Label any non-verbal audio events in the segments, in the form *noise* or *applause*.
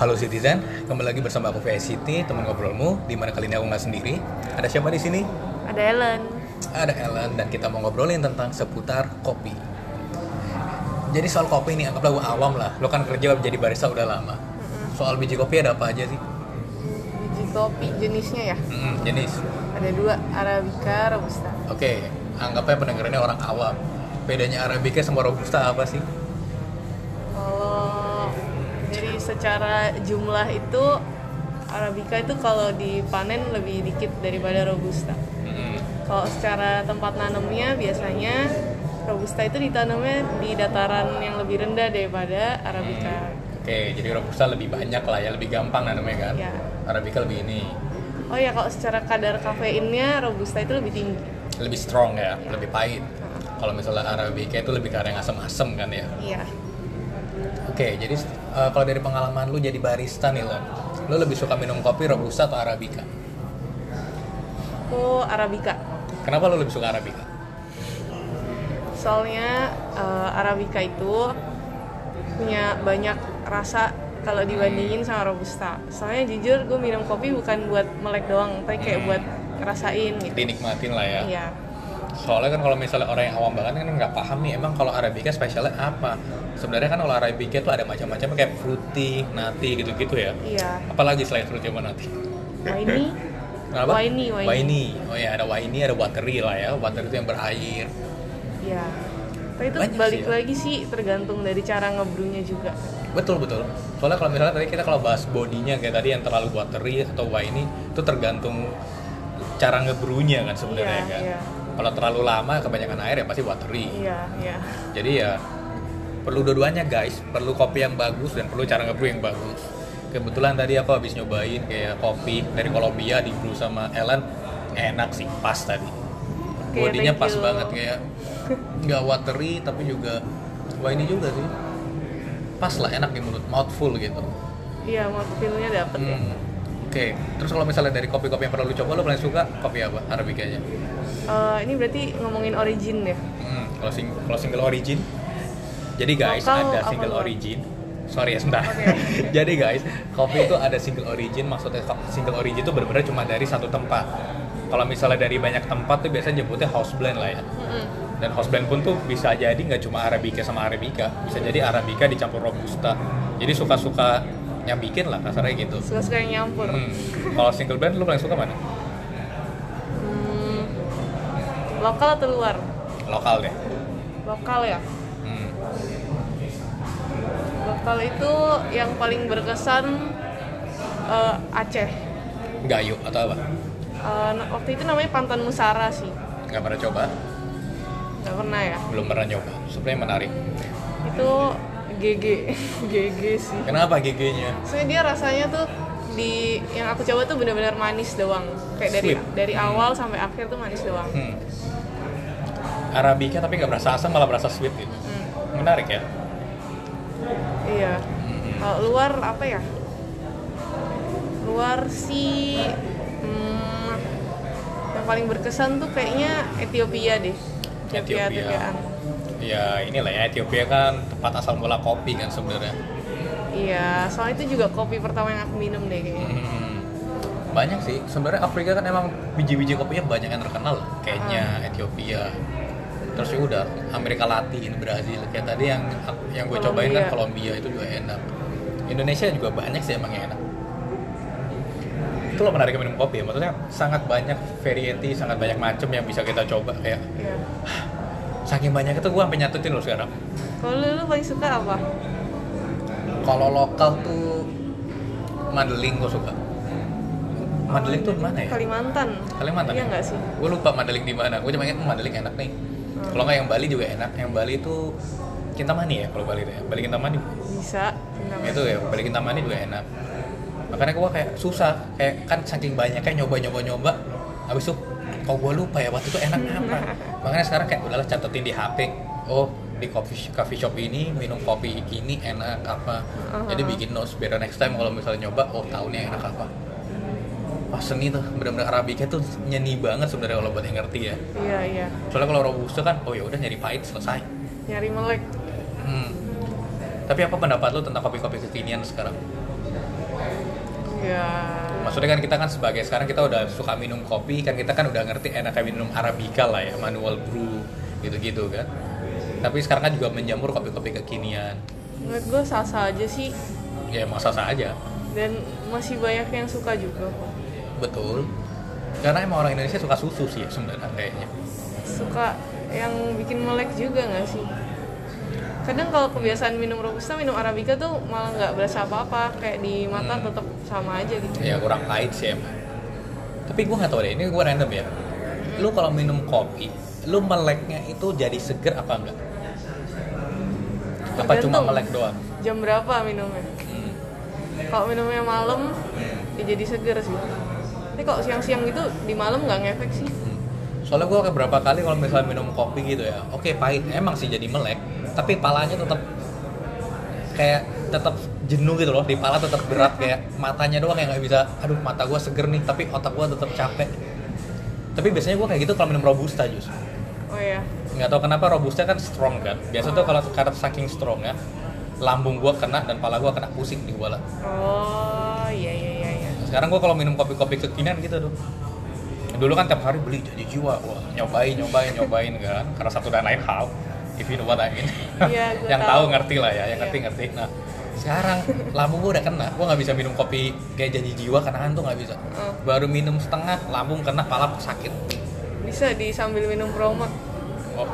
Halo Citizen, kembali lagi bersama aku VS City, teman ngobrolmu. Di mana kali ini aku nggak sendiri. Ada siapa di sini? Ada Ellen. Ada Ellen dan kita mau ngobrolin tentang seputar kopi. Jadi soal kopi ini anggaplah gua awam lah. Lo kan kerja jadi barista udah lama. Soal biji kopi ada apa aja sih? Biji kopi jenisnya ya. Mm-mm, jenis. Ada dua, Arabica, Robusta. Oke, anggapnya pendengarannya orang awam. Bedanya Arabica sama Robusta apa sih? Kalau jadi secara jumlah itu Arabica itu kalau dipanen lebih dikit daripada Robusta. Mm-mm. Kalau secara tempat nanamnya biasanya Robusta itu ditanamnya di dataran yang lebih rendah daripada Arabica. Oke, jadi Robusta lebih banyak lah ya, lebih gampang namanya kan? Ya. Arabica lebih ini, Oh ya kalau secara kadar kafeinnya Robusta itu lebih tinggi. lebih strong ya, lebih pahit. Kalau misalnya Arabica itu lebih ke arah yang asam-asam kan ya? Iya. Oke, jadi eh, kalau dari pengalaman lu jadi barista nih lo, lu lebih suka minum kopi robusta atau arabica? Aku Arabica. Kenapa lu lebih suka arabica? soalnya eh, arabica itu punya banyak rasa kalau dibandingin sama robusta soalnya jujur gue minum kopi bukan buat melek doang tapi kayak Hmm. buat ngerasain gitu Dinikmatin lah ya. iya Soalnya kan kalau misalnya orang yang awam banget kan nggak paham nih emang kalau arabica spesialnya apa? Sebenarnya kan kalau arabica itu ada macam-macam kayak fruity, nati gitu-gitu ya. iya Apalagi selain fruity sama nati? wah ini Kenapa? Winey, winey. Winey. Oh ya ada winey, ada watery lah ya. Watery itu yang berair. iya tapi itu Banyak sih balik ya. lagi sih tergantung dari cara ngebrunya juga Betul betul. Soalnya kalau misalnya tadi kita kalau bahas bodinya kayak tadi yang terlalu watery atau winey itu tergantung cara ngebrunya kan sebenarnya Iya, kan. iya. Kalau terlalu lama kebanyakan air ya pasti watery. iya iya Jadi ya perlu dua-duanya guys, perlu kopi yang bagus dan perlu cara ngebrew yang bagus. Kebetulan tadi aku habis nyobain kayak kopi dari Kolombia di brew sama Ellen enak sih, pas tadi. Oke, Bodinya thank pas you. banget kayak nggak watery tapi juga wah ini juga sih. Pas lah enak di mulut, mouthful gitu. iya mau feelnya dapet ya Hmm. Oke, terus kalau misalnya dari kopi-kopi yang perlu lu coba, lu paling suka kopi apa? Arabikanya. Eh, ini berarti ngomongin origin ya Hmm, kalau sing- kalau single origin. Jadi guys, Lokal ada apa single luar? origin. Sorry ya sebentar. Oke. *laughs* Jadi guys, kopi itu ada single origin, maksudnya ko- single origin itu benar-benar cuma dari satu tempat. Kalau misalnya dari banyak tempat tuh biasanya nyebutnya house blend lah ya. Mm-mm. Dan house blend pun tuh bisa jadi nggak cuma arabica sama arabica, bisa jadi arabica dicampur robusta. Jadi suka-suka yang bikin lah kasarnya gitu. suka-suka yang nyampur Hmm. Kalau single blend lu paling suka mana? Hmm, lokal atau luar Lokal deh. lokal ya Hmm. Lokal itu yang paling berkesan eh, Aceh. Gayo atau apa? Eh, na- waktu itu namanya Pantan Musara sih, Nggak pernah coba? nggak pernah ya. belum pernah nyoba sebenarnya menarik Itu GG, *laughs* GG sih. kenapa giginya Soalnya dia rasanya tuh di yang aku coba tuh benar-benar manis doang. Kayak dari Sweet. dari awal sampai akhir tuh manis doang. hmm. arabica tapi nggak berasa asam malah berasa sweet gitu Hmm, menarik ya iya. Kalau luar apa ya? Luar sih hmm, yang paling berkesan tuh kayaknya Ethiopia deh. Ethiopia. Ethiopia, Ethiopia. ya inilah ya Ethiopia kan tempat asal mula kopi kan sebenarnya Iya, soalnya itu juga kopi pertama yang aku minum deh kayaknya. Hmm. banyak sih sebenarnya Afrika kan emang biji-biji kopinya banyak yang terkenal Hmm. kayaknya Ethiopia terus ya udah Amerika Latin Brazil kayak tadi yang yang gue cobain kan Kolombia Kolombia. itu juga enak Indonesia juga banyak sih emang yang enak itu loh menarik minum kopi ya. maksudnya sangat banyak variety sangat banyak macam yang bisa kita coba kayak Iya. saking banyak itu gue sampai nyatutin loh sekarang Kalau lu, lu paling suka apa? kalau lokal tuh Madeling gue suka Madeling tuh mana ya Kalimantan. Kalimantan Iya ya? nggak Iya sih? gue lupa Mandeling di mana gue cuma ingat "Hmm, Mandeling enak nih kalau nggak yang Bali juga enak yang Bali itu Kintamani ya kalau Bali itu ya Bali Kintamani Bisa. kenapa? itu ya Bali Kintamani juga enak makanya gue kayak susah kayak kan saking banyak kayak nyoba nyoba nyoba abis itu kok gue lupa ya waktu itu enak apa makanya sekarang kayak udahlah catetin di HP oh di coffee sh- coffee shop ini minum kopi ini enak apa jadi bikin notes biar next time kalau misalnya nyoba oh tahunya enak apa Wah seni tuh, bener-bener Arabica tuh nyeni banget sebenarnya kalau buat yang ngerti ya Iya iya. Soalnya kalau Robusta kan, oh ya udah nyari pahit selesai. Nyari melek. Hmm. Tapi apa pendapat lu tentang kopi-kopi kekinian sekarang? Iya. Enggak. Maksudnya kan kita kan sebagai sekarang kita udah suka minum kopi kan kita kan udah ngerti enaknya minum arabica lah ya manual brew gitu-gitu kan. Tapi sekarang kan juga menjamur kopi-kopi kekinian. Menurut gue sah-sah aja sih Ya emang sah aja. dan masih banyak yang suka juga kok. Betul. Karena emang orang Indonesia suka susu sih ya sebenarnya kayaknya. Suka yang bikin melek juga nggak sih? Kadang kalau kebiasaan minum robusta, minum arabica tuh malah nggak berasa apa-apa, kayak di mata Hmm. tetap sama aja gitu. Ya kurang pahit sih emang. Tapi gue nggak tahu deh, ini gue random ya. Lu kalau minum kopi, lu meleknya itu jadi seger apa enggak? Apa cuma Tergantung. melek doang? Jam berapa minumnya? Hmm. Kalau minumnya malam, ya jadi seger sih. Tapi kalau siang-siang gitu di malam nggak ngefek sih. Soalnya gue beberapa kali kalau misalnya minum kopi gitu ya, oke pahit emang sih jadi melek, tapi palanya tetap kayak tetap jenuh gitu loh, di pala tetap berat kayak matanya doang yang nggak bisa, aduh mata gue seger nih, tapi otak gue tetap capek. Tapi biasanya gue kayak gitu kalau minum robusta jus. Oh ya, Nggak tahu kenapa robusta kan strong kan, biasa tuh kalau karena saking strong ya, lambung gue kena dan pala gue kena pusing di kepala. oh iya iya iya. iya. Sekarang gue kalau minum kopi-kopi kekinian gitu tuh. Dulu kan tiap hari beli jadi jiwa, wah nyobain, nyobain, nyobain kan. Karena satu dan lain hal, if you know what I mean. Iya, gua *laughs* yang tahu. tahu ngerti lah ya, yang Iya. ngerti ngerti. Nah, sekarang lambung gue udah kena, gue nggak bisa minum kopi kayak jadi jiwa karena hantu nggak bisa. Hmm. Baru minum setengah, lambung kena, pala sakit. Bisa di sambil minum promak. Oh,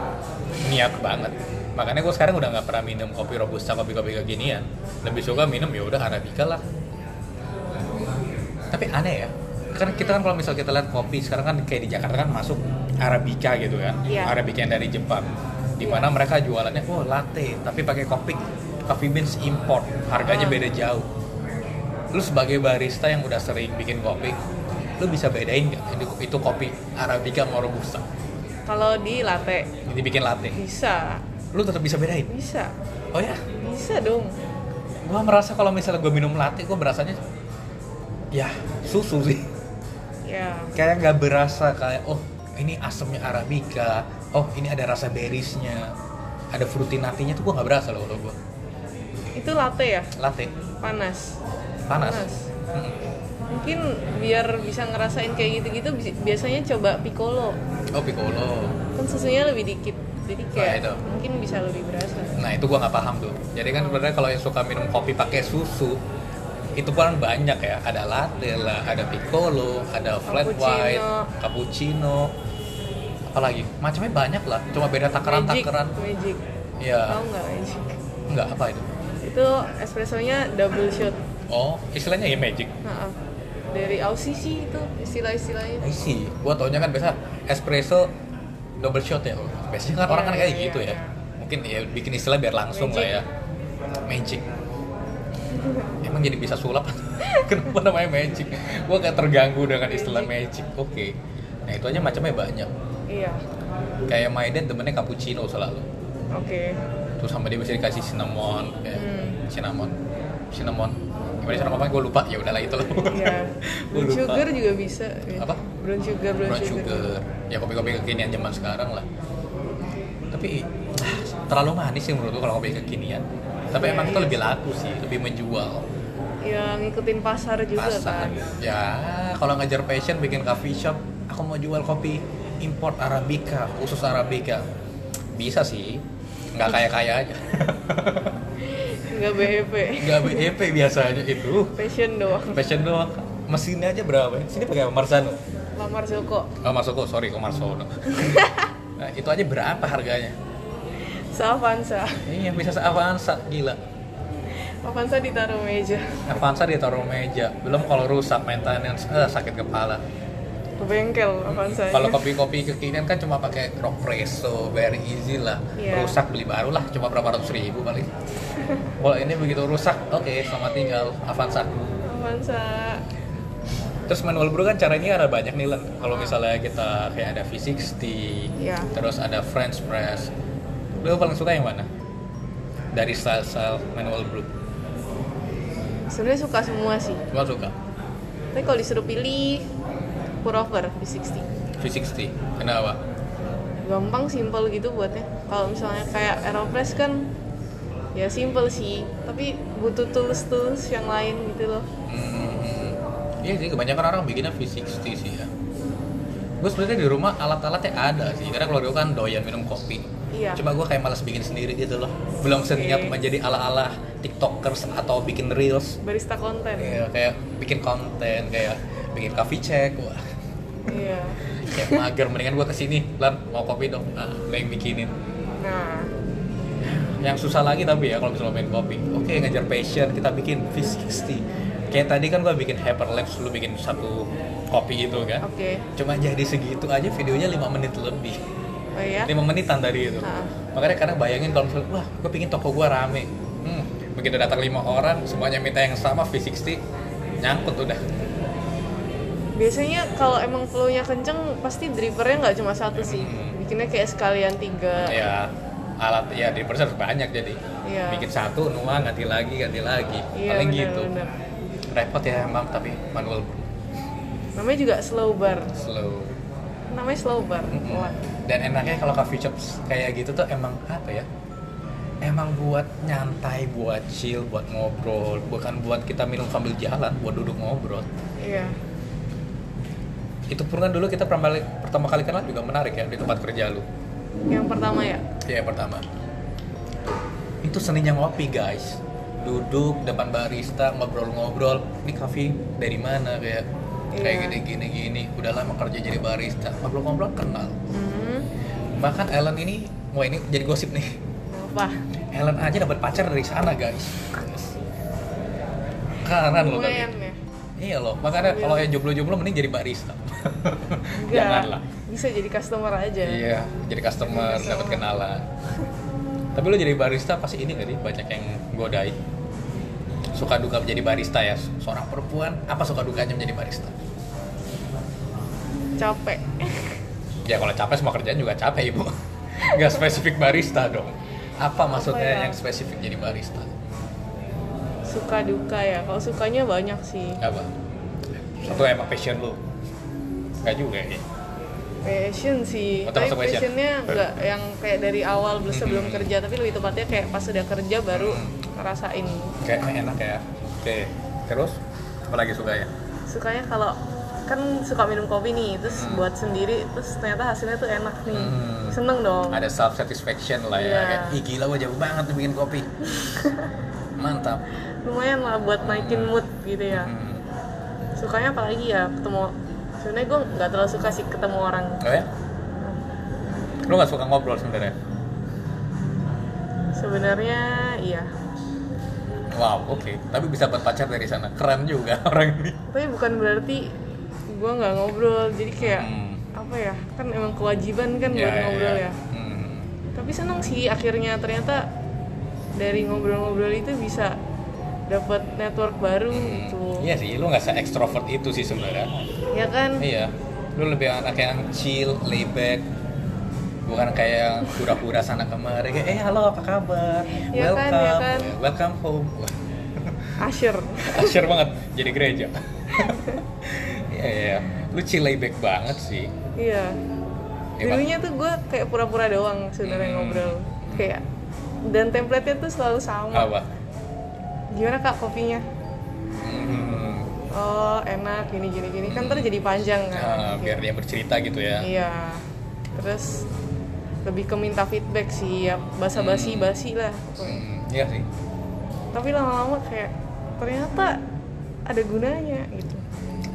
niat banget. Makanya gue sekarang udah nggak pernah minum kopi robusta, kopi-kopi kekinian. Lebih suka minum ya udah arabica lah. Tapi aneh ya. Kan kita kan kalau misal kita lihat kopi sekarang kan kayak di Jakarta kan masuk arabica gitu kan. Iya. Arabica yang dari Jepang. Di mana mereka jualannya oh latte tapi pakai kopi coffee beans import. Harganya Ah. beda jauh. Lu sebagai barista yang udah sering bikin kopi, lu bisa bedain nggak itu- itu kopi arabica sama robusta? Kalau di latte Ini bikin latte bisa, lu tetap bisa bedain bisa, oh ya bisa dong. gua merasa kalau misalnya gua minum latte gua merasanya ya susu sih *laughs* Ya, kayak nggak berasa kayak oh ini asamnya arabica oh ini ada rasa berisnya ada fruitinatinya tuh gua nggak berasa loh kalau gua itu latte ya, latte panas. panas, Panas. Mm. Mungkin biar bisa ngerasain kayak gitu-gitu bi- biasanya coba piccolo. oh piccolo Kan susunya lebih dikit. Jadi Nah, kayak itu. mungkin bisa lebih berasa. nah itu gua nggak paham tuh jadi kan sebenarnya kalau yang suka minum kopi pakai susu itu kan banyak ya ada latte lah ada piccolo ada flat Cappuccino. white cappuccino apalagi macamnya banyak lah cuma beda takaran takaran magic. magic. Tahu ya nggak magic? nggak apa itu Itu espressonya double shot. oh istilahnya ya magic Nah, dari Aussie sih itu istilah-istilahnya. I see gua taunya kan biasa espresso double shot ya biasanya kan orang kan Iya, kayak iya, gitu ya iya. mungkin ya bikin istilah biar langsung lah ya Magic. magic emang jadi bisa sulap *laughs* kenapa namanya magic gua kayak terganggu dengan istilah magic oke nah itu aja macamnya banyak Iya. kayak Maiden temennya cappuccino selalu *laughs* Oke. terus sama dia bisa dikasih cinnamon kayak Hmm. cinnamon cinnamon gimana cara ngomongnya gue lupa ya udahlah itu lah *laughs* Iya. Gua Brown lupa. sugar juga bisa. ya. Apa? Brown sugar, brown, brown sugar. sugar ya kopi-kopi kekinian zaman sekarang lah tapi ah, terlalu manis sih menurut gue kalau kopi kekinian tapi Ya, emang itu iya lebih sih. laku sih lebih menjual Ya ngikutin pasar juga pasar kan. ya kalau ngajar passion bikin coffee shop aku mau jual kopi import arabica khusus arabica bisa sih nggak kaya kaya aja *laughs* Nggak BEP. nggak BEP biasanya itu Fashion doang. Fashion doang. Mesinnya aja berapa ya? Sini pakai Marsano. Lamar Zoko. Oh, masuk kok, sorry, kok Marsano. nah, itu aja berapa harganya? Savansa. Iya, bisa se Avanza, gila. Avanza ditaruh meja. Avanza ditaruh meja. Belum kalau rusak maintenance, eh, sakit kepala. Ke bengkel Avanza. iya. ya. Kalau kopi-kopi kekinian kan cuma pakai rock presso, very easy lah. Iya. Rusak beli baru lah, cuma berapa ratus ribu paling. kalau ini begitu rusak, oke, selamat tinggal Avanza. Avanza. Terus manual brew kan caranya ada banyak nih Len. Kalau misalnya kita kayak ada V60, Iya. terus ada French press. Lu paling suka yang mana? Dari style-style manual brew. Sebenarnya suka semua sih. Gua suka Tapi kalau disuruh pilih pour over di 60. V60. Kenapa? Gampang simple gitu buatnya. Kalau misalnya kayak Aeropress kan ya simple sih, tapi butuh tools-tools yang lain gitu loh. Hmm, Iya sih kebanyakan orang bikinnya V60 sih ya. Gue sebenarnya di rumah alat-alatnya ada sih karena keluarga gue kan doyan minum kopi. Iya. Cuma gue kayak malas bikin sendiri gitu loh. Belum seniat Oke. menjadi ala-ala tiktokers atau bikin reels. barista konten Iya, kayak bikin konten kayak bikin coffee check wah Iya. kayak mager mendingan gue kesini lan mau kopi dong ah gue yang bikinin nah yang susah lagi tapi ya kalau misalnya main kopi oke ngajar passion kita bikin V60 kayak tadi kan gua bikin hyperlapse lu bikin satu kopi gitu kan oke cuma jadi segitu aja videonya 5 menit lebih oh iya 5 menitan tadi itu Ah. makanya kadang bayangin kalau misalnya wah gue pingin toko gua rame hmm, begitu datang lima orang semuanya minta yang sama V60 nyangkut udah biasanya kalau emang flow-nya kenceng pasti drivernya nggak cuma satu sih Hmm. bikinnya kayak sekalian tiga ya alat ya di harus banyak jadi Iya. bikin satu nuang ganti lagi ganti lagi iya paling benar gitu benar repot ya emang tapi manual namanya juga slow bar slow namanya slow bar Mm-mm. Wah. dan enaknya kalau coffee shops kayak gitu tuh emang apa ya emang buat nyantai buat chill buat ngobrol bukan buat kita minum sambil jalan buat duduk ngobrol iya itu pun kan dulu kita pertama kali, pertama kali kenal juga menarik ya di tempat kerja lu yang pertama ya ya yang pertama itu seninya ngopi guys duduk depan barista ngobrol-ngobrol ini coffee dari mana kayak kayak Iya. gini gini gini udah lama kerja jadi barista ngobrol-ngobrol kenal hmm. bahkan Ellen ini wah ini jadi gosip nih apa Helen aja dapat pacar dari sana guys kanan loh lumayan tapi ya iya loh makanya Iya. kalau yang jomblo-jomblo mending jadi barista Enggak. janganlah bisa jadi customer aja iya jadi customer Customer. dapat kenalan tapi lo jadi barista pasti ini gak sih banyak yang godain suka duka menjadi barista ya seorang perempuan apa suka dukanya menjadi barista capek ya kalau capek semua kerjaan juga capek ibu *laughs* nggak spesifik barista dong apa maksudnya ya? yang spesifik jadi barista suka duka ya kalau sukanya banyak sih apa satu emang passion lu nggak juga ya passion sih Oh, tapi termasuk passion. passionnya nggak yang kayak dari awal bel- sebelum Mm-mm. kerja tapi lebih tepatnya kayak pas udah kerja baru Mm. ngerasain kayaknya enak Iya. ya oke terus apa lagi suka ya sukanya kalau kan suka minum kopi nih terus Hmm. buat sendiri terus ternyata hasilnya tuh enak nih Hmm. seneng dong ada self satisfaction lah ya Iya. kayak ih gila gue jago banget tuh bikin *laughs* kopi mantap lumayan lah buat naikin mood gitu ya hmm. sukanya apalagi ya ketemu sebenarnya gue nggak terlalu suka sih ketemu orang oh ya lu nggak suka ngobrol sebenarnya sebenarnya iya wow oke tapi bisa dapat pacar dari sana keren juga *laughs* orang ini tapi bukan berarti gue nggak ngobrol jadi kayak Hmm. Iya, apa ya kan emang kewajiban kan buat ngobrol ya Hmm. tapi seneng sih akhirnya ternyata dari ngobrol-ngobrol itu bisa dapat network baru Hmm. gitu iya sih lu nggak se ekstrovert itu sih sebenarnya ya kan Iya, lu lebih anak yang chill, laid back, bukan kayak pura-pura sana kemari kayak eh halo apa kabar, Iya welcome, kan, iya kan. welcome home, Wah, *laughs* Asher asyik banget jadi gereja. *laughs* Iya iya, lu chill laid back banget sih. iya Iya, dulunya tuh gue kayak pura-pura doang sebenarnya Hmm. ngobrol kayak dan template-nya tuh selalu sama Apa? gimana kak kopinya Hmm, oh enak gini gini gini kan ntar jadi panjang kan ah, Gitu. biar dia bercerita gitu ya. Iya. Terus lebih ke minta feedback sih ya basa-basi Hmm. basi lah. pokoknya. Hmm, iya sih. Tapi lama-lama kayak ternyata ada gunanya gitu.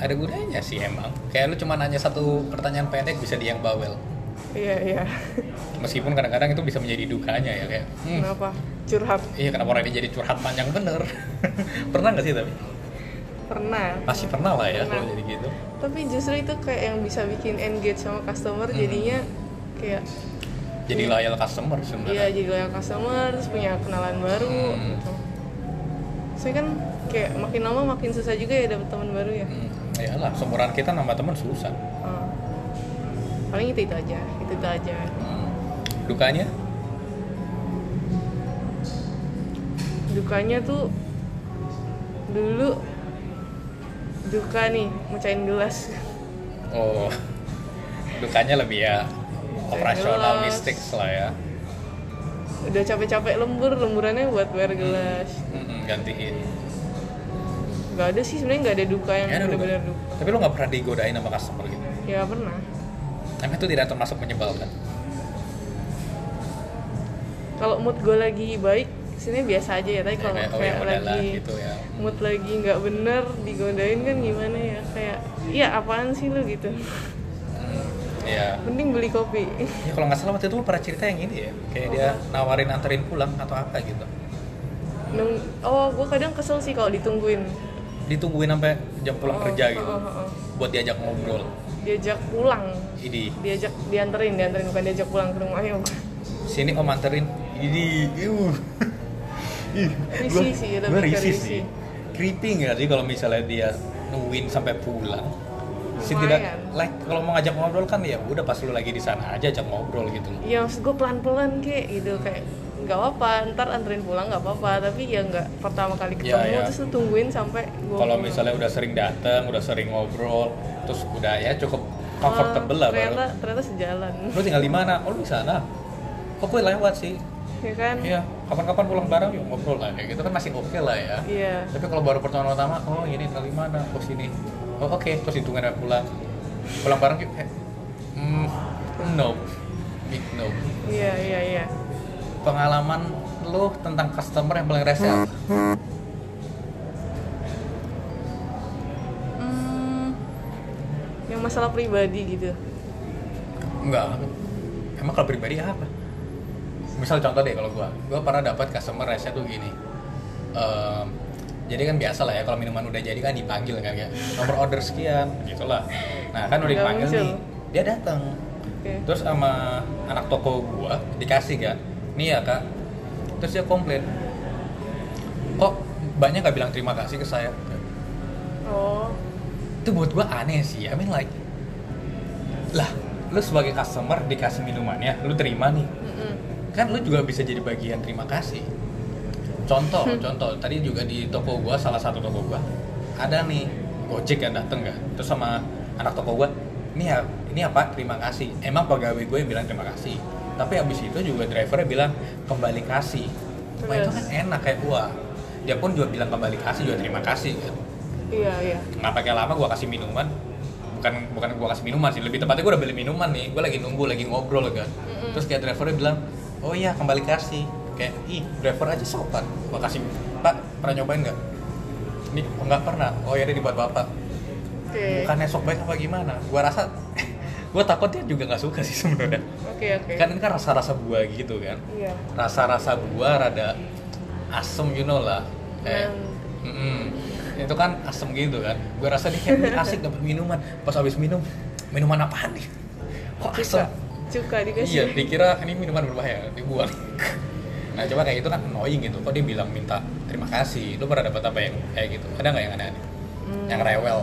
Ada gunanya sih emang. Kayak lu cuma nanya satu pertanyaan pendek bisa dia yang bawel. Iya iya. Meskipun kadang-kadang itu bisa menjadi dukanya ya kayak. hmm, Kenapa? Curhat Iya kenapa orang ini jadi curhat panjang bener *laughs* Pernah nggak sih tapi? pernah. Pasti pernah lah ya Pernah. kalau jadi gitu Tapi justru itu kayak yang bisa bikin engage sama customer Hmm. jadinya kayak Jadi Iya. loyal customer dia sebenarnya jadi loyal customer terus punya kenalan baru Hmm. gitu. Saya kan kayak makin lama makin susah juga ya dapet teman baru ya. Hmm, Iyalah, seumuran kita nambah teman susah Ah. Paling itu itu aja, itu itu aja. Hmm. Dukanya? dukanya tuh dulu duka nih mecahin gelas *laughs* Oh *laughs* Dukanya lebih ya Operasional Jelas. mistakes lah ya udah Hmm. capek-capek lembur lemburannya buat bayar gelas Mm-mm, Gantiin nggak nggak ada sih sebenarnya nggak ada duka yang Ya, ada duka. benar-benar duka Tapi lu nggak pernah digodain sama customer gitu. ya pernah Tapi itu tidak termasuk menyebalkan. kalau mood gue lagi baik sebenarnya biasa aja ya tapi Ya, kalau kayak, oh kayak, ya udahlah lagi gitu ya. mood lagi nggak bener digodain kan gimana ya kayak iya apaan sih lu gitu Iya. mending beli kopi Ya kalau nggak salah waktu itu lu pernah cerita yang ini ya, kayak dia nawarin anterin pulang atau apa gitu. Nung- oh gue kadang kesel sih kalau ditungguin Ditungguin sampai jam pulang Oh, kerja gitu, oh, oh, oh. buat diajak ngobrol. diajak pulang Ini diajak dianterin dianterin bukan diajak pulang ke ya. rumahnya bukan sini om anterin. Ini, iuh. *laughs* Ih, Risih gua- sih, gua lebih ke risih risih. sih. Creepy nggak sih kalau misalnya dia nungguin sampai pulang? Sih Lumayan. tidak, like kalau mau ngajak ngobrol kan ya udah pas lu lagi di sana aja ajak ngobrol gitu. loh. ya maksud gue pelan-pelan kek gitu kayak nggak apa-apa ntar anterin pulang nggak apa-apa tapi ya nggak pertama kali Ya, ketemu ya. terus lu tungguin sampai gue Kalau misalnya udah sering datang, udah sering ngobrol, terus udah ya cukup comfortable lah baru. ternyata ternyata sejalan Lu tinggal di mana? Oh lu di sana. Oh gue lewat sih. ya kan Iya. Kapan-kapan pulang bareng yuk ngobrol lah. Kayak gitu kan masih oke lah ya. iya Tapi kalau baru pertemuan pertama, oh ini tinggal di mana? Oh sini. Oh oke. Terus hitungannya pulang. Pulang bareng yuk. Eh, mm, no. Big no. iya iya iya Pengalaman lu tentang customer yang paling rese apa? Hmm, yang masalah pribadi gitu Enggak. Emang kalau pribadi ya apa? Misal contoh deh kalau gua, gua pernah dapat customer rese tuh gini. Ehm, jadi kan biasa lah ya kalau minuman udah jadi kan dipanggil kan ya. Nomor order sekian, gitulah. Nah, kan udah Nggak dipanggil muncul. nih. Dia datang. oke Terus sama anak toko gua dikasih kan. Nih ya, Kak. Terus dia komplain. Kok banyak gak bilang terima kasih ke saya? oh Itu buat gua aneh sih. I mean like lah, lu sebagai customer dikasih minumannya, lu terima nih mm-mm. kan lu juga bisa jadi bagian terima kasih contoh contoh tadi juga di toko gua salah satu toko gua ada nih gojek yang dateng kan terus sama anak toko gua ini ya ini apa terima kasih emang pegawai gue yang bilang terima kasih tapi abis itu juga drivernya bilang kembali kasih Wah, itu Terus? kan enak kayak wah dia pun juga bilang kembali kasih juga terima kasih kan iya iya nggak pakai lama gua kasih minuman bukan bukan gua kasih minuman sih lebih tepatnya gua udah beli minuman nih gua lagi nunggu lagi ngobrol kan Mm-mm. terus kayak drivernya bilang oh iya kembali kasih kayak ih driver aja sopan gua kasih pak pernah nyobain nggak ini "Oh, nggak pernah oh ya dibuat bapak oke bukan esok baik apa gimana gua rasa *laughs* gua takut dia juga nggak suka sih sebenarnya oke oke kan ini kan rasa-rasa buah gitu kan iya rasa-rasa buah rada asem you know lah kayak Nah. mm-mm. itu kan asem gitu kan gue rasa dia kayak asik dapat minuman pas habis minum minuman apaan nih kok asem cuka cuka Oh, iya dikasih dikira ini minuman berbahaya dibuang nah coba kayak gitu kan annoying gitu kok dia bilang minta terima kasih lu pernah dapat apa yang kayak gitu ada nggak yang aneh-aneh Hmm. yang rewel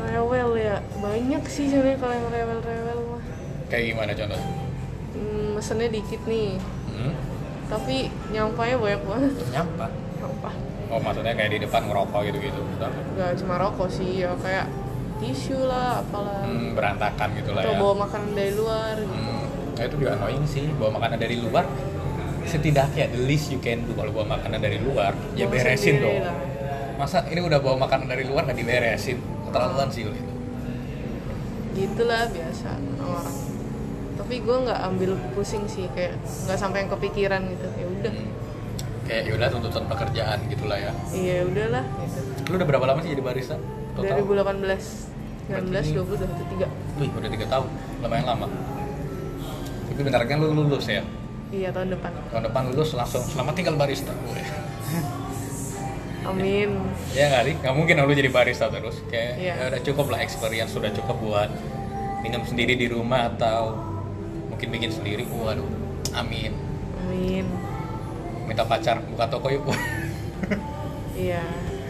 rewel ya banyak sih sebenarnya kalau yang rewel rewel mah kayak gimana contoh hmm, mesennya dikit nih hmm? tapi nyampanya banyak banget nyampa apa oh maksudnya kayak di depan ngerokok gitu gitu nggak cuma rokok sih ya kayak tisu lah apalah hmm, berantakan gitu lah atau ya bawa makanan dari luar gitu. Hmm, nah itu juga annoying sih bawa makanan dari luar setidaknya the least you can do kalau bawa makanan dari luar ya Bawa beresin sendiri dong lah. masa ini udah bawa makanan dari luar nggak diberesin keterlaluan sih lo itu gitulah biasa orang tapi gue nggak ambil pusing sih kayak nggak sampai yang kepikiran gitu ya udah Hmm. kayak yaudah tuntutan pekerjaan gitulah ya iya udahlah gitu. lu udah berapa lama sih jadi barista total 2018 19 20 23 Wih, udah tiga tahun lumayan lama tapi bentar kan lu lulus ya iya tahun depan tahun depan lulus langsung selamat tinggal barista Wih. amin Ya nggak sih, nggak mungkin lu jadi barista terus. Kayak Iya. ya udah cukup lah experience sudah cukup buat minum sendiri di rumah atau mungkin bikin sendiri. Waduh, amin. amin Minta pacar buka toko yuk. *laughs* iya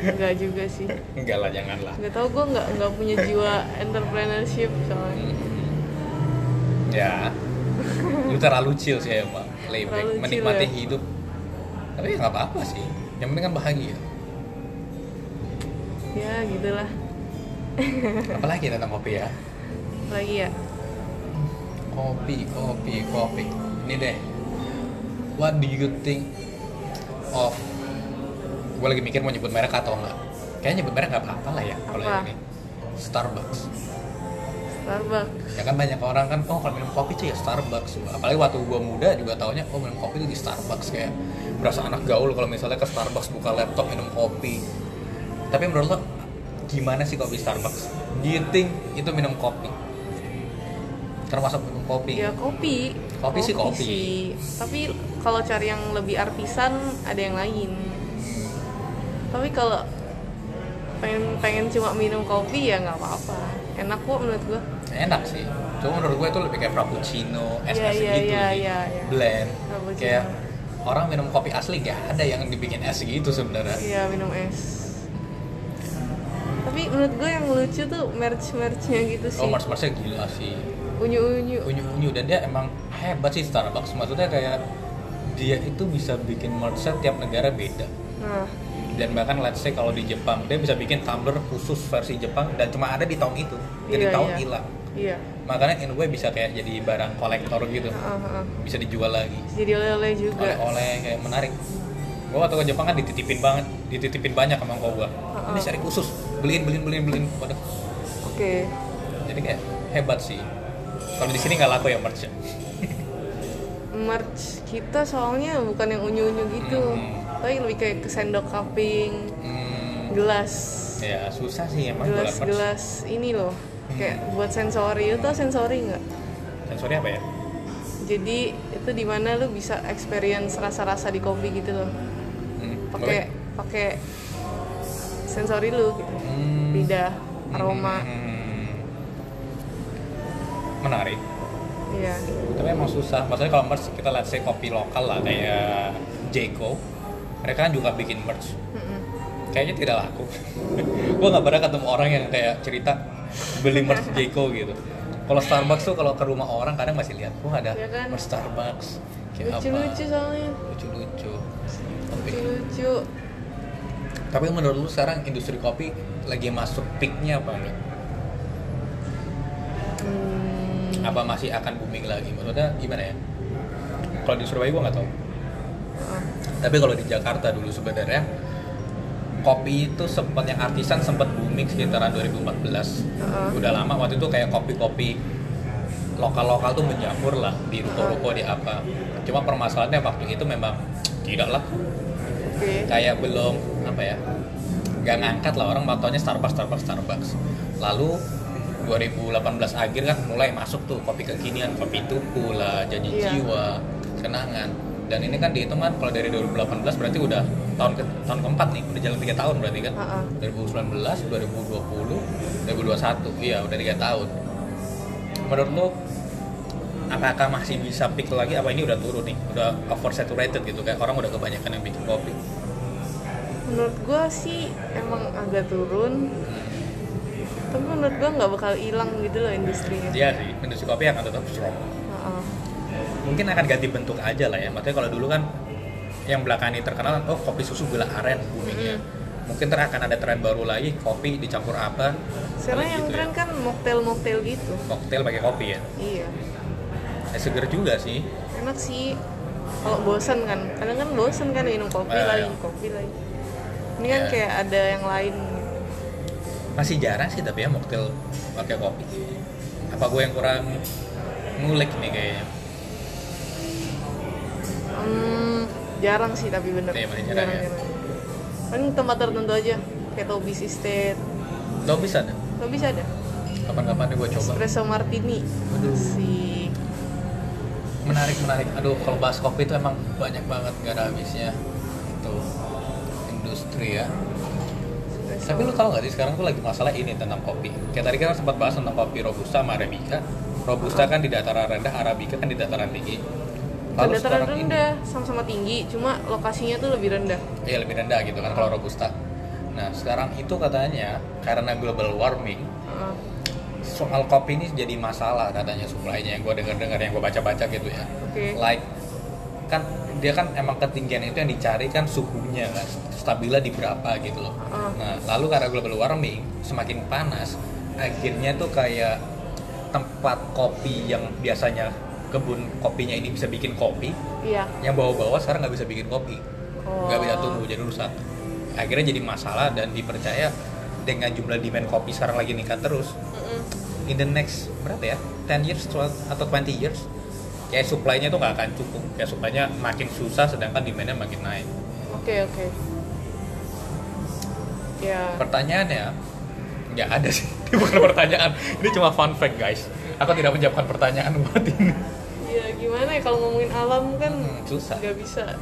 nggak juga sih Enggak lah, jangan lah. nggak tahu gue nggak nggak punya jiwa entrepreneurship soalnya Hmm. Ya, lu terlalu chill sih ya pak, playback, Terlalu chill menikmati ya? hidup. Tapi ya nggak apa-apa sih. Yang penting kan *laughs* bahagia. ya gitulah Apalagi tentang kopi ya. lagi ya Kopi, kopi, kopi. Ini deh. What do you think of gue lagi mikir mau nyebut merek atau enggak kayaknya nyebut merek nggak apa-apa lah ya kalau Apa? yang ini Starbucks Starbucks ya kan banyak orang kan oh kalau minum kopi cuy ya Starbucks apalagi waktu gua muda juga taunya oh minum kopi itu di Starbucks kayak berasa anak gaul kalau misalnya ke Starbucks buka laptop minum kopi tapi menurut lo gimana sih kopi Starbucks do you think itu minum kopi termasuk minum kopi ya kopi Kopi sih kopi. sih. tapi kalau cari yang lebih artisan ada yang lain tapi kalau pengen pengen cuma minum kopi ya nggak apa-apa enak kok menurut gua enak sih cuma menurut gue itu lebih kayak frappuccino es es Iya, iya, gitu iya, sih. iya, iya. blend Frappuccino. kayak orang minum kopi asli gak ada yang dibikin es gitu sebenarnya Iya minum es. Tapi menurut gue yang lucu tuh merch merchnya gitu sih. oh mars marsnya gila sih unyu unyu. unyu-unyu dan dia emang hebat sih Starbucks maksudnya kayak dia itu bisa bikin merchant tiap negara beda Nah dan bahkan let's say kalau di Jepang dia bisa bikin tumbler khusus versi Jepang dan cuma ada di tahun itu jadi Iya, tahun iya. hilang iya. makanya in a way bisa kayak jadi barang kolektor gitu Ah, ah, ah. bisa dijual lagi Jadi oleh-oleh juga. oleh-oleh kayak menarik gua waktu ke Jepang kan dititipin banget dititipin banyak sama kau gua Heeh. ini seri khusus beliin beliin beliin beliin waduh Oke. jadi kayak hebat sih kalau di sini nggak laku ya merch Merch kita soalnya bukan yang unyu unyu gitu, Hmm. tapi lebih kayak ke sendok kaping, Hmm. gelas, ya susah sih emang jualan gelas merch gelas ini loh. Kayak buat sensori itu sensori nggak? sensornya apa ya Jadi itu dimana lu bisa experience rasa-rasa di kopi gitu loh. hmm. Pakai pakai sensori lu gitu. boleh? Hmm, lidah, aroma, hmm. menarik iya. tapi emang susah maksudnya kalau merch kita let's say kopi lokal lah kayak Jeko mereka kan juga bikin merch Mm-mm. kayaknya tidak laku *laughs* gue nggak pernah ketemu orang yang kayak cerita beli *laughs* merch Jeko gitu kalau Starbucks tuh kalau ke rumah orang kadang masih lihat wah ada Iya kan? merch Starbucks kayak Lucu-lucu apa soalnya, lucu-lucu Tapi- lucu-lucu. Tapi menurut lu sekarang industri kopi lagi masuk peaknya apa enggak? Hmm, Apa masih akan booming lagi? Maksudnya gimana ya? Kalau di Surabaya gua nggak tahu. ah, Tapi kalau di Jakarta dulu sebenarnya kopi itu sempat yang artisan sempat booming sekitaran 2014. Heeh. Udah lama waktu itu kayak kopi-kopi lokal-lokal tuh menjamur lah di ruko-ruko di apa. Cuma permasalahannya waktu itu memang tidak lah Oke. kayak belum apa ya nggak ngangkat lah orang matonya Starbucks Starbucks Starbucks lalu 2018 akhir kan mulai masuk tuh kopi kekinian kopi tuku lah jadi Iya. jiwa kenangan dan ini kan dihitung kan kalau dari 2018 berarti udah tahun ke tahun keempat nih udah jalan tiga tahun berarti kan Ah, ah. 2019 2020 2021 iya udah tiga tahun menurut lo apakah masih bisa pick lagi apa ini udah turun nih udah oversaturated gitu kayak orang udah kebanyakan yang bikin kopi Menurut gua sih emang agak turun, tapi menurut gua nggak bakal hilang gitu loh industrinya. Iya sih, industri kopi akan tetap strong. Ah, ah. Mungkin akan ganti bentuk aja lah ya. Maksudnya kalau dulu kan yang belakangan ini terkenal oh kopi susu gula aren boomingnya. Hmm. Mungkin ter akan ada tren baru lagi kopi dicampur apa? Sekarang Paling yang gitu tren ya. kan mocktail-mocktail gitu. koktail pakai kopi ya. Iya, Eh, seger juga sih. enak sih. Kalau bosen kan, kadang kan bosen kan minum kopi Ah, lagi, iya. kopi lagi. Ini kan Iya. kayak ada yang lain. gitu. Masih jarang sih tapi ya koktail pakai kopi. Apa gue yang kurang ngulik nih kayaknya? Hmm, jarang sih tapi bener. Iya, paling jarang ya. Paling tempat tertentu aja, kayak Tobis Estate. Lo bisa deh. Tobis ada. Kapan-kapan nih gue coba. Espresso Martini. Aduh. Si menarik menarik aduh kalau bahas kopi itu emang banyak banget gak ada habisnya itu industri ya tapi lu tau gak sih sekarang tuh lagi masalah ini tentang kopi kayak tadi kan sempat bahas tentang kopi robusta sama arabica robusta kan di dataran rendah arabica kan di dataran tinggi lalu dataran sekarang ini rendah, sama-sama tinggi, cuma lokasinya tuh lebih rendah. ya lebih rendah gitu kan kalau robusta nah sekarang itu katanya karena global warming Heeh. soal kopi ini jadi masalah katanya suplainya yang gue dengar-dengar yang gue baca-baca gitu ya Oke. like kan dia kan emang ketinggian itu yang dicari kan suhunya kan stabilnya di berapa gitu loh Heeh. nah lalu karena global warming semakin panas akhirnya tuh kayak tempat kopi yang biasanya kebun kopinya ini bisa bikin kopi Iya. yang bawa-bawa sekarang nggak bisa bikin kopi Oh. nggak bisa tumbuh jadi rusak akhirnya jadi masalah dan dipercaya dengan jumlah demand kopi sekarang lagi meningkat terus Mm-mm. in the next berapa ya 10 years 12 atau 20 years kayak supply-nya tuh nggak akan cukup kayak supply-nya makin susah sedangkan demand-nya makin naik Oke oke. Ya. pertanyaannya nggak ada sih *laughs* ini bukan pertanyaan ini cuma fun fact guys aku tidak menjawabkan pertanyaan buat ini Ya gimana ya kalau ngomongin alam kan Hmm, susah. nggak bisa.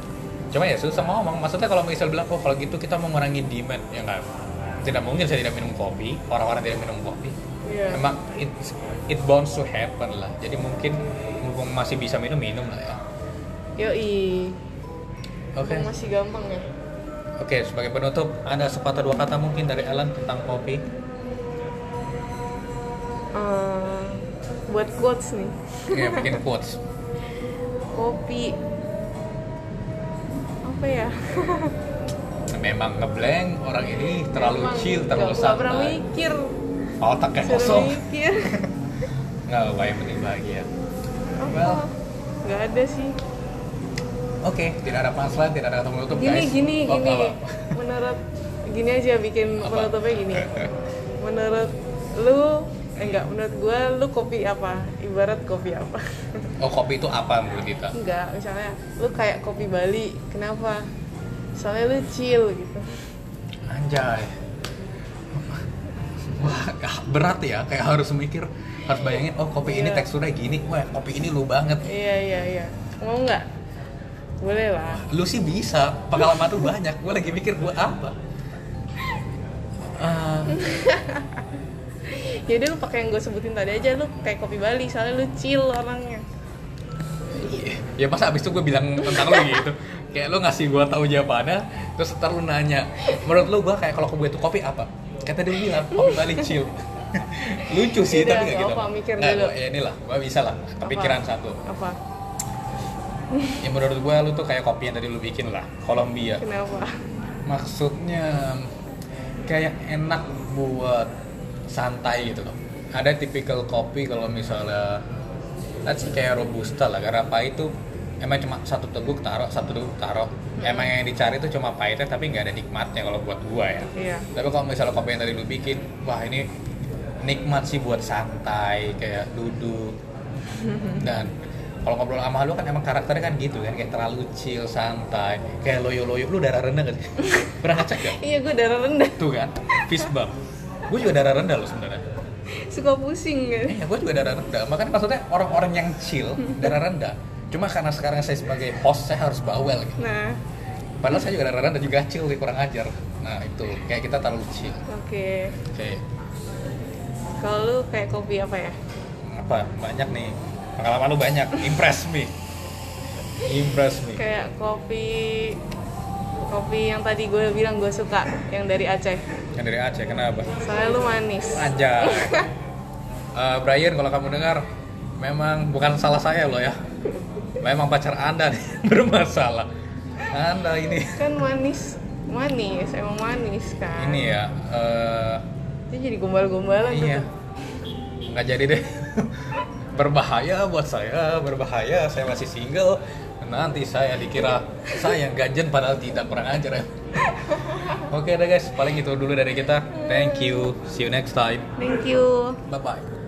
cuma ya susah mau ngomong maksudnya kalau misal bilang oh kalau gitu kita mengurangi demand ya nggak tidak mungkin saya tidak minum kopi orang-orang tidak minum kopi Ya. emang it it bounds to happen lah jadi mungkin mumpung masih bisa minum minum lah ya Yoi. oke Masih gampang ya. oke sebagai penutup ada sepatah dua kata mungkin dari Alan tentang kopi Eh, buat quotes nih. *laughs* ya bikin quotes Kopi. Apa ya? memang ngeblank orang ini terlalu Emang chill terlalu nggak- nggak pernah santai mikir. otaknya Suruh kosong mikir. nggak apa yang penting bahagia Apa? *laughs* Well. Nggak ada sih. oke tidak ada punchline tidak ada kata penutup Gini guys gini Oh, gini. apa? Menurut gini aja bikin Apa? penutupnya *laughs* gini. Menurut lu eh enggak menurut gua lu kopi apa? Ibarat kopi apa? oh kopi itu apa menurut kita enggak, misalnya lu kayak kopi Bali. Kenapa? Soalnya lu chill gitu. Anjay. Wah, berat ya. Kayak harus mikir, harus bayangin, oh kopi ini Iya. teksturnya gini, wah kopi ini lu banget. Iya iya iya. Mau nggak? Boleh lah. Lu sih bisa, pengalaman tuh banyak. Gue lagi mikir gue apa. Ah, Jadi Ya lu pakai yang gue sebutin tadi aja lu kayak kopi Bali soalnya lu chill orangnya. iya. ya masa abis itu gue bilang tentang lu gitu. Kayak lu ngasih gue tahu jawabannya, terus ntar lu nanya, menurut lu gue kayak kalau gue itu kopi apa? Kata dia bilang kopi Bali chill. *laughs* Lucu sih, Yaudah, tapi gak gak gitu. apa, mikir Nggak, dulu. gua- ya inilah, gue bisa lah. Kepikiran satu. Apa? Ya menurut gue lu tuh kayak kopi yang tadi lu bikin lah, Kolombia. Kenapa? Maksudnya kayak enak buat santai gitu loh. Ada tipikal kopi kalau misalnya let's say kayak robusta lah, karena pahit tuh emang cuma satu teguk taruh, satu teguk taruh. Emang yang dicari tuh cuma pahitnya tapi nggak ada nikmatnya kalau buat gua ya. Iya. Tapi kalau misalnya kopi yang tadi lu bikin, wah ini nikmat sih buat santai, kayak duduk. Dan kalau ngobrol sama lu kan emang karakternya kan gitu kan, kayak terlalu chill, santai. Kayak loyo-loyo, lu darah rendah gak sih? Pernah ngecek gak? Iya gue darah rendah. *laughs* Tuh kan, fist bump. Gue juga darah rendah loh sebenarnya. Suka pusing kan. Iya, gue juga darah rendah. Makanya maksudnya orang-orang yang chill, darah rendah. Cuma karena sekarang saya sebagai host, saya harus bawel gitu. Nah, Padahal saya juga darah rendah juga chill, kurang ajar. Nah itu, kayak kita terlalu chill. oke. Oke. Kalau lu kayak kopi apa ya? apa banyak nih pengalaman lu banyak impress me impress me Kayak kopi kopi yang tadi gue bilang gue suka yang dari Aceh. yang dari Aceh kenapa Soalnya lu manis. aja Eh, Brian kalau kamu dengar memang bukan salah saya loh ya memang pacar anda nih *laughs* bermasalah anda ini Kan manis, manis, emang manis kan. ini ya eh, Itu jadi gombal-gombalan tuh iya tuh. Gitu. nggak jadi deh *laughs* berbahaya buat saya berbahaya saya masih single nanti saya dikira saya yang ganjen padahal tidak kurang ajar *laughs* ya oke deh guys paling itu dulu dari kita thank you see you next time Thank you. bye bye